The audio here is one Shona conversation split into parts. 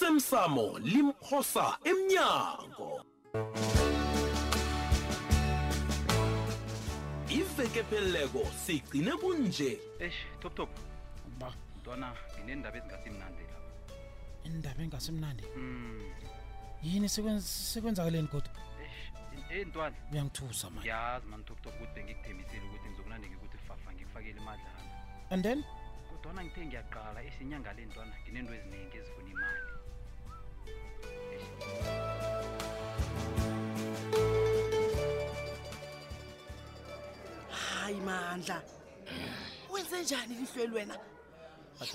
osemsamo limphosa emnyango iveke pheleleko sigcine kunje eshi top top ba mntwana ngineendaba ezingasimnandi lapha indaba engasemnandi mm yini sekwen- sekwenzakaleni kodwa eshi eyi eh, ntwana uyangithusa mani ngiyazi mani top top ukuthi bengikuthembisile ukuthi ngizokunandi ngikuthi fafa ngikufakele imadlana and then kodwana ngithe ngiyaqala eshi inyanga le ntwana nginento eziningi ezifuna imali eshi hayi mandla wenze njani lihlweli wena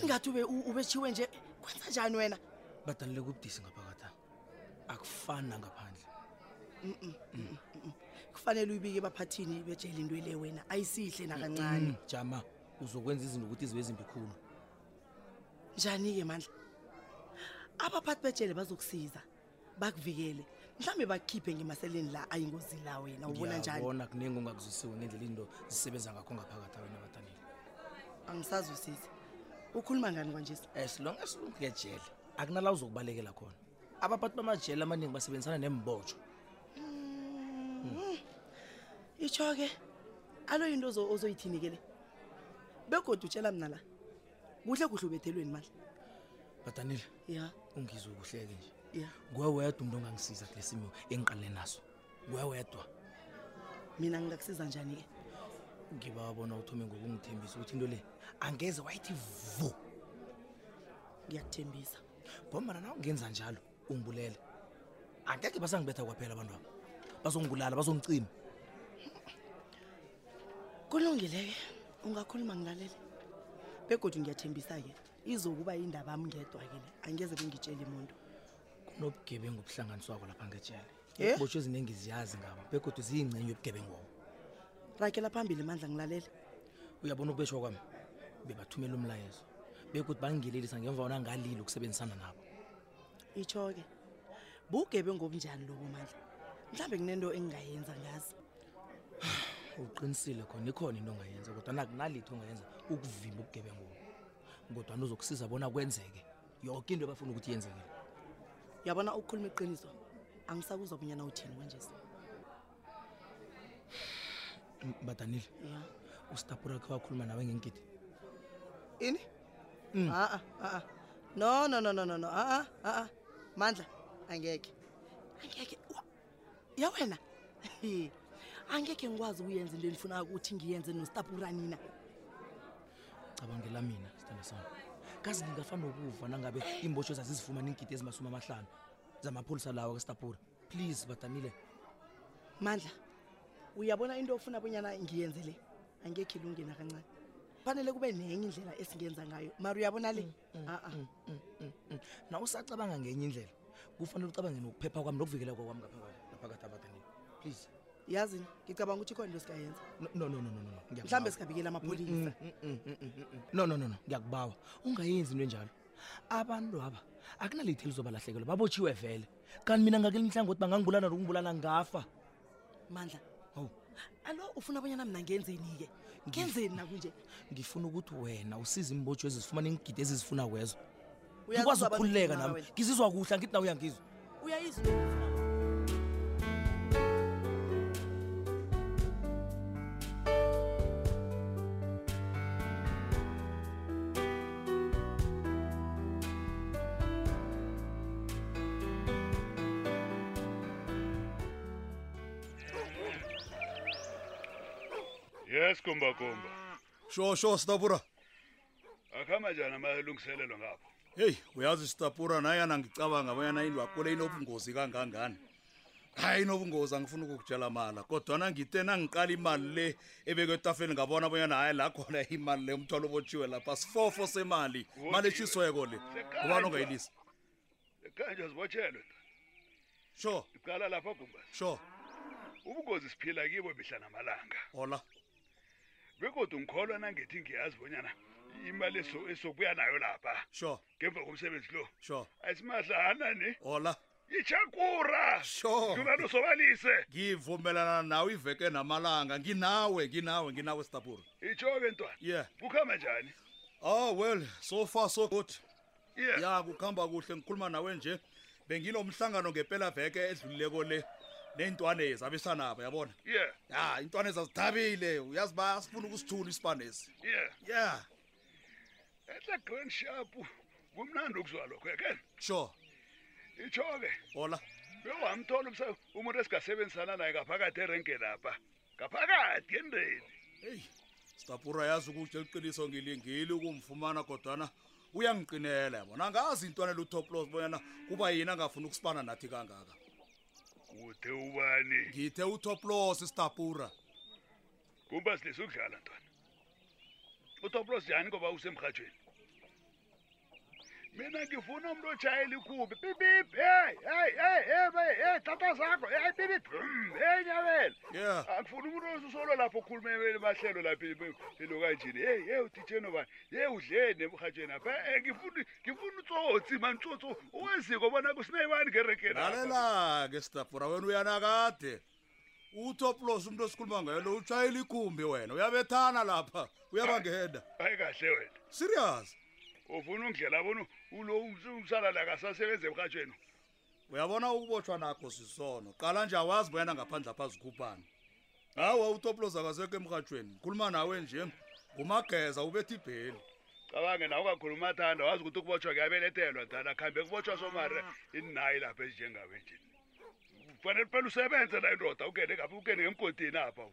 ingathi ube u- ubeshiwe nje kwenza njani wena badanile kubudisi ngaphakathi akufani nangaphandle kufanele uyibike ebaphathini betshele into ele wena ayisihle nakancane Mm, jama uzokwenza izinto ukuthi zibe zimbi khulu njani-ke mandla abaphathi betshele bazokusiza bakuvikele mhlawumbe bakukhiphe ngemaseleni la ayingozi la wena ubona njani Ngiyabona kunengi ongakuzwisisiwe ngendlela into zisebenza ngakho ngaphakathi wena badanile angisazosiza ukhuluma ngani kwanjesi as long as ungejele akunala uzokubalekela khona abaphathi bamajele amaningi basebenzisana nembotsho itsho-ke alo yinto ozo- ozoyithinikele begodwa utshela mna la kuhle kuhle ubethelweni mandla badanile ya ungizwe kuhleke nje ya nguwe wedwa umntu ongangisiza kule simo engiqalene naso nguwe wedwa mina ngingakusiza njani-ke ngiba bona uthome ngokungithembisa ukuthi into le angeze wayithi vu ngiyakuthembisa ngombana nawe ungenza njalo ungibulele angeke basangibetha kwaphela abantu abo bazongibulala bazongicima kulungile-ke ungakhuluma ngilalele begodwa ngiyathembisa-ke izokuba yindaba ami ngedwa-ke le angeze bengitshele muntu kunobugebengu obuhlanganiswako lapha ngejele Eh? botsho eziningi ziyazi ngabo begodwa ziyingcenye yobugebengowo rakela phambili mandla ngilalele uyabona ukubeshwa kwami bebathumela umlayezo begodwa bangingelelisa ngemva wona ngalile ukusebenzisana nabo itsho-ke bugebe ngobunjani lobo mandla mhlawumbe kunento engingayenza ngazi uqinisile khona ikhona into ongayenza kodwana kunalitho ongayenza ukuvimba ubugebengowo kodwana uzokusiza bona kwenzeke yoke into ebafuna ukuthi yenzekele uyabona ukukhuluma iqiniso angisakuzwa bunyana uthini kwanjesi M- badanile ya ustapura khe wakhuluma nawe ngengigidi ini Mm. Ah, aa aa no no no no no Ah, no aa aa mandla angeke angeke Wa- ya wena angeke ngikwazi ukuyenza into enifuna ukuthi ngiyenze nostapuranina cabangela mina sithanda sami kazi ngingafana nokuva nangabe imbotsho zazizifumana iingidi ezimasumi amahlanu zamapholisa lawo kastapura please badanile mandla uyabona into ofuna bonyana ngiyenze le angekho ilunge nakancane kufanele kube nenye indlela esingenza ngayo mara uyabona le Mm, Ah, aa na usacabanga ngenye indlela kufanele ucabange nokuphepha kwami nokuvikela kwakwami ngaphaka- ngaphakathi abadanile please yazini ngicabanga ukuthi ikhona into singayenza no no no no no, no ngiyakubala. mhlawumbe singabikela amapholisa Mm, mm, mm, mm, mm, mm. no no no no ngiyakubawa ungayenzi into enjalo abantu aba akunalithi elizobalahlekelwa babotshiwe vele kanti mina ngakeli mhlangothi bangangibulana nokungibulana ngafa mandla hawu alo ufuna bonyana mna ngenzeni-ke ngenzeni nakunje ngifuna ukuthi wena usize imbotsho ezizifumana iingidi ezizifuna kwezo Uyazi ngikwazi abantu ukukhululeka ngifuna nami wena. ngizizwa kuhle angithi nawe uyangizwa uyayizwa into engifuna ngayo? yes kumba kumba sho sho sitapura akhamba njani amalungiselelo ngapho heyi uyazi sitapura nayana ngicabanga abanyana indlu akule inobungozi kangangani hayi inobungozi angifuni ukukutshela mala kodwana ngite nangiqala imali le ebekwe etafeni ngabona abanyana hhayi la khona imali le umthwalo obotshiwe lapha sifofo semali mali eshisweko le Sekhaya nje. ubani ongayilisa ekhanja zibotshelwe sho iqala lapha kumba sho ubungozi siphila kibo mihla namalanga hola bekodwa ngikholwa nangethi ngiyazi bonyana imali eso- esokubuya nayo lapha sho ngemva komsebenzi lo sho ayisimadlana ni hola yitshakura Sure. ndunani usobalise ngivumelana nawe iveke namalanga nginawe nginawe nginawe sitapura itsho-ke ntwana yeah kukhamba njani oh well so far so good Yes. ya kukhamba kuhle ngikhuluma nawe nje benginomhlangano ngempela veke edlulileko le neyintwane zabesanaba yabona yeah ya intwane zazithabile uyazi basifuna ukusithula isipanesi yeah ya etla grand sharp kumnandi ukuzwa lokho yeke sure itsho ke hola bewamthola umsa- umuntu esingasebenzisana naye ngaphakathi erenke lapha ngaphakathi endeni eyi stapura yazi ukutshe liqiniso ngilingile ukumfumana kodwana uyangiqinela yabona angazi intwane lutoplos bonyana kuba yini angafuni ukusipana nathi kangaka ude ubani ngithe utoplos istapura kumba silise ukudlala ntwana utoplos njani ngoba usemrhatshweni mina ngifuna umuntu otshayela ikhubi bibip hey hey hey hey hey hey tata zakho hey bibip hey nyabela Yeah. angifuna umuntu osusolo lapho ukhulumele bahlelo lapha e- elo kanjini hey hey utitsheni obani hey udleni emrhatshweni apha Eh, ngifuna ngifuna utsotsi mani utsotsi uweziko bona kusinebani ngerekeni lalela-ke stapura wena uyanakade utoplos umntu esikhuluma ngayo lo utshayela ikhumbi wena uyabethana lapha uyabangena hayi kahle wena serious ufuna ungidlela bona ulo umsala la kasasebenza emrhatshweni uyabona ukubotshwa nakho sisono qala nje awazi bonyana ngaphandle apha zikhuphana hawa utoplos akasekho emrhatshweni khuluma nawe nje ngumageza ubetha ibheli cabange nawe ungakhuluma thanda wazi ukuthi ukubotshwa kuyabeletelwa dala khambe kubotshwa somare inayi lapha ezinjengawe nje kufanele phela usebenze la indoda ungene ngapha ungene ngemgodini apha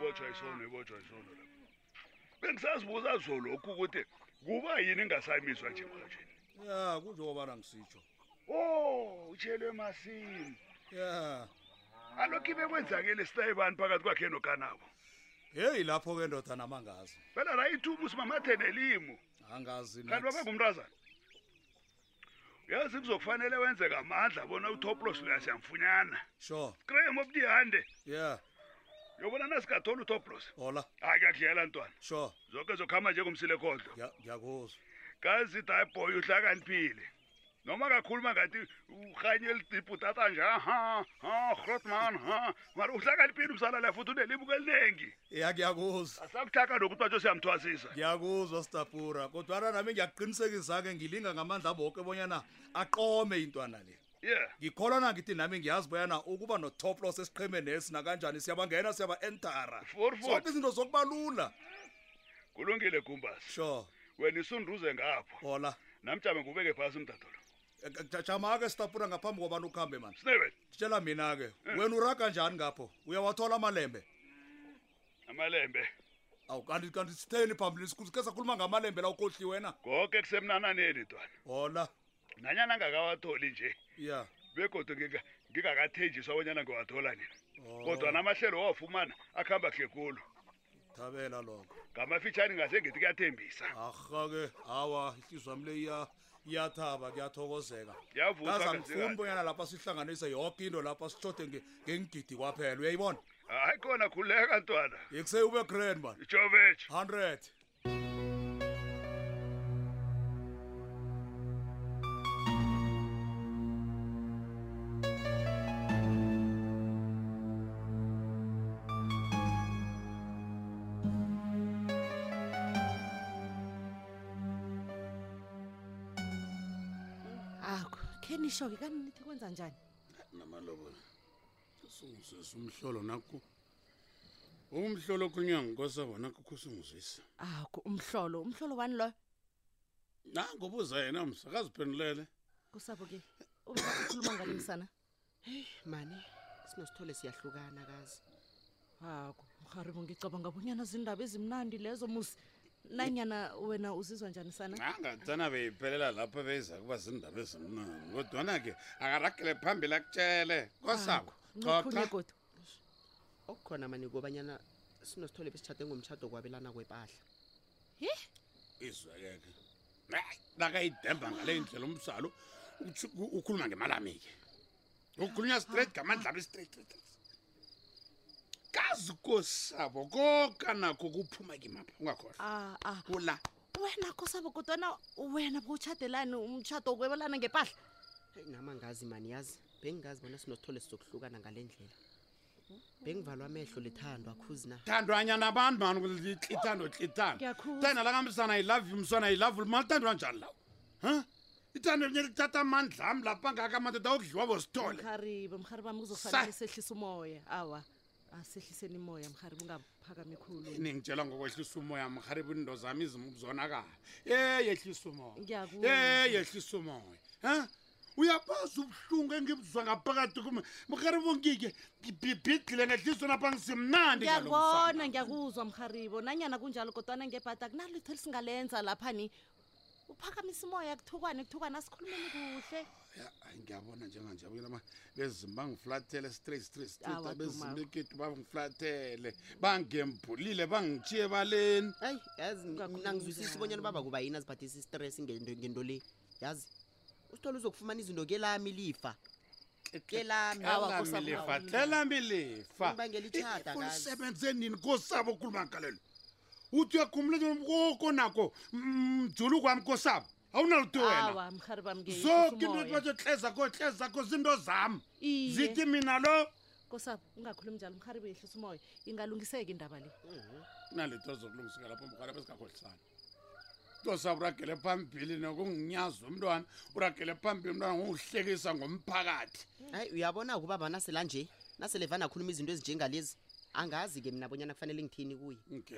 botshwa isono ibotshwa isono lapha bengisazibuza zolokhu ukuthi kuba yini ingasamiswa nje emrhatshweni ya kunjengoba nangisitsho o utshelwe masini ya alokhu ibe kwenzakele sitayibani phakathi kwakhe nokanabo heyi lapho-ke ndoda namangazi phela la ithuba usimamathene limo angazi kanti next. babengumntazana uyazi kuzokufanele wenze ngamandla bona utoplos loya siyamfunyana sure graham of the hande yeah yobona nasigathola utoplos hola hayi kuyakudlela ntwana sure zonke zokuhamba njengomsile kodlo Ngiya- ngiyakuzwa kazi dayiboy uhlakaniphile noma kakhuluma ngathi urhanye elidibhu tata nje aha ha hrotman ha mara uhlakaniphile umsala la futhi unelibuko eliningi ya ngiyakuzwa asakuthaka nokuthi batsho siyamthwasisa ngiyakuzwa stapura kodwana nami ngiyakuqinisekisa-ke ngilinga ngamandla boke bonyana aqome intwana le yeah ngikholwana ngithi nami ngiyazi boyana ukuba notoplos esiqhemenesi nakanjani siyabangena siyaba-entara For- for- zonke izinto zokuba lula kulungile gumbasi sure wena isunduze ngapho hola namjame ngubeke phasi umdadolo Eh, jama-ke stapura ngaphambi kobani ukuhambe mani sinebele tshela mina-ke wena uraga njani ngapho uyawathola amalembe amalembe awu kanti kanti sitheni phambili sikhe sakhuluma ngamalembe la ukohli wena konke kusemnananeni ntwana hola nanyana angakawatholi nje ya begodwa ngingakathenjiswa abonyana ngiwathola nina Oh. kodwa namahlelo wawafumana akuhamba kuhle khulu thabela lokho ngamafitshane ngase ngithi kuyathembisa arha-ke hawa ihlizwa yami le iya- iyathaba kuyathokozeka Iyavuthwa Kazi kahle angifuni kahle. bonyana lapha sihlanganise yoke into lapha sitshode nge- ngengigidi kwaphela uyayibona hayi khona khuleka ntwana yekuseye ube grand man ijoveji 100 akho khe nisho-ke kani nithi kwenza njani namalobola sungizwisa umhlolo nakho umhlolo okhulunywa nginkosi abona kukho usungizwisa akho umhlolo umhlolo wani loyo nangobuza yena msakaziphendulele kusabo ke ubekhuluma ngani msana mani sinosithole siyahlukana kazi hako mharibo ngicabanga bonyana zindaba ezimnandi lezo musi nanyana wena uzizwa njani sana angathana beyiphelela lapho beyiza kuba zindaba ezimnani kodwana-ke akaragele phambili akutshele Ah, kosabo Ah, ngikhule kodwa okukhona mani kobanyana sinosithole besitshade ngomtshado kwabelana kwepahla izwekeke Hayi, nakayidemba ngale ndlela umsalo uthi u- ukhuluma ngemalami-ke ukhulunywa straight ngamandla abe straight straight, straight. kazi kosabo kokanakho kuphuma kimapha ungakhohlwa ah ah kula wena kosabo kodwana wena bowutshadelani umtshato wokwebelana ngepahla heyi nama ngazi mani yazi bengingazi bona sinosithole sizokuhlukana ngale ndlela bengivalwa amehlo lithandwa akhuzi na thandwanya nabantu mani ithando tlithando Ngiyakhuzwa. tena lakamsana i love you msana i love you malithandwa njani lawo ha ithando linye lithatha amandla ami lapha ngaka amadoda okudliwa bozithole mharibe mharibe wami Sa- kuzofanele sehlisa umoya awa asehliseni imoya mharibe ungaphakami khulu ningitshela ngokwehlisa umoya mharibe indo zami izimvu zonakala ye yehlisa umoya Ngiyakuzwa. ye yehlisa umoya ha uyabaza ubuhlungu engibuzwa ngaphakathi kum mharibe ungike ngibhibhidlile ngehliso napha ngisimnandi ngalo mfana. ngiyakubona ngiyakuzwa mharibo nanyana kunjalo kodwana ngebhada kunalitho elisingalenza lapha ni uphakamisa umoya kuthukwane kuthukwane asikhulumeni kuhle Ya, ayi, ngiyabona njenganje abuyelama bezimba bangiflathele straight straight straight Awa, abezimba Dumako. ekethu bangiflathele bangembulile bangitshiye baleni hayi yazi nangizwisisa ubonyana ubaba kuba yini aziphathisa istress ngento ngento le yazi usithole uzokufumana izinto kelami lifa kelami Tlelami lifa, tlelami lifa. Ngibangela itjhada, Eh, kazi. ulisebenze nini kosabo okhuluma ngalelo uthi uyakhumula koko nako mjulu kwami kosabo awunalutho wena awa mharibe wami zonke into ethi batho hleza kho hleza kho zinto zami zithi mina lo kosabo ungakhulumi njalo mharibe yehlisa umoya ingalungiseki indaba le nalito zokulungiseka lapho mkhwala besingakhohlisana tosabo uragele phambili nokunginyaza umntwana uragele phambili umntwana ngokuhlekisa ngomphakathi hayi uyabona ukuba banasela nje nasele vana akhuluma izinto ezinjengalezi angazi-ke mina bonyana kufanele ngithini kuye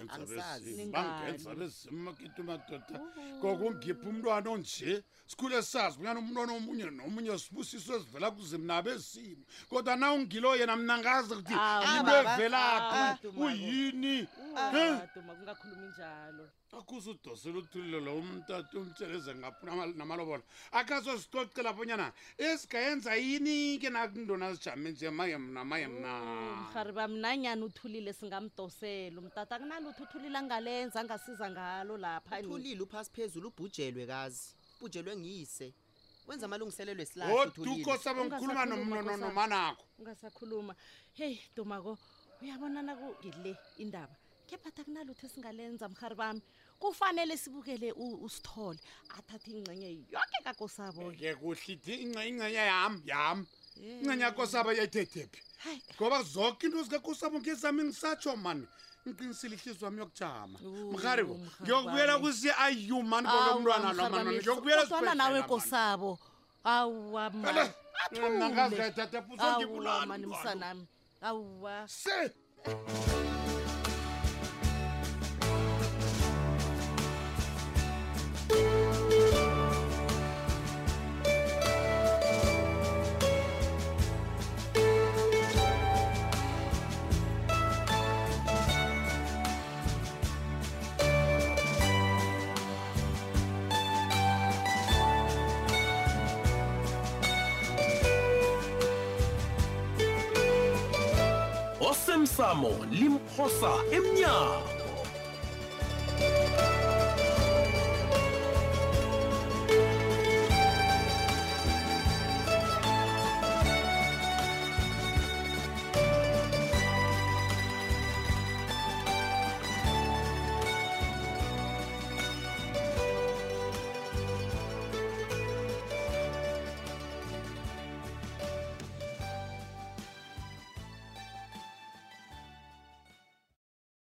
angisazi bangenza bezimakiti madoda Oh. kokungiphi umntwana onje sikhule sazi kunyana umntwana omunye nomunye sibusiso esivela kuzimna besimo kodwa na ungilo yena mna ngazi ukuthi Ah, into baba. Ah, evelaphi Dumako. uyini Eh? Ah, duma kungakhulumi njalo akhuze udosele uthulile lo umtata umtsheleze ngaphuna namalobola akazosicocela bonyana esigayenza yini-ke nakundona zijame nje maye mna maye Oh, mna mharibe Mm, wami nanyana uthulile singamdosela umtata akunalutho uthulile angalenza angasiza ngalo lapha ni. thulile uphasi phezulu ubhujelwe kazi ubhujelwe ngiyise wenza amalungiselelo oduko sabe ngikhuluma Ungasakhuluma, Nkosi yami. nomanakho ungasakhuluma heyi dumako uyabonana ngile indaba kephatha kunalutho esingalenza mhari bami kufanele sibukele u- usithole athathe ingxenye yonke kakosabo-ke ke kuhle ithi ingce- ingcenye yam yam ingcenye yakosabo yayithethephi ngoba zonke into zikakosabo ngezami ngisatsho mani ngiqinisile ihlizwa yami yokujama mharibo ngiyokubuyela kusi ayumani kolo mntwana lomani ngiyokubuyela kodwana nawe esibhedlela, mani. kosabo awa Ala, mna ngazi athule. kayithatha puso Awa, ngibulala mani, umntwana. msanami awa se osemsamo limphosa emnyango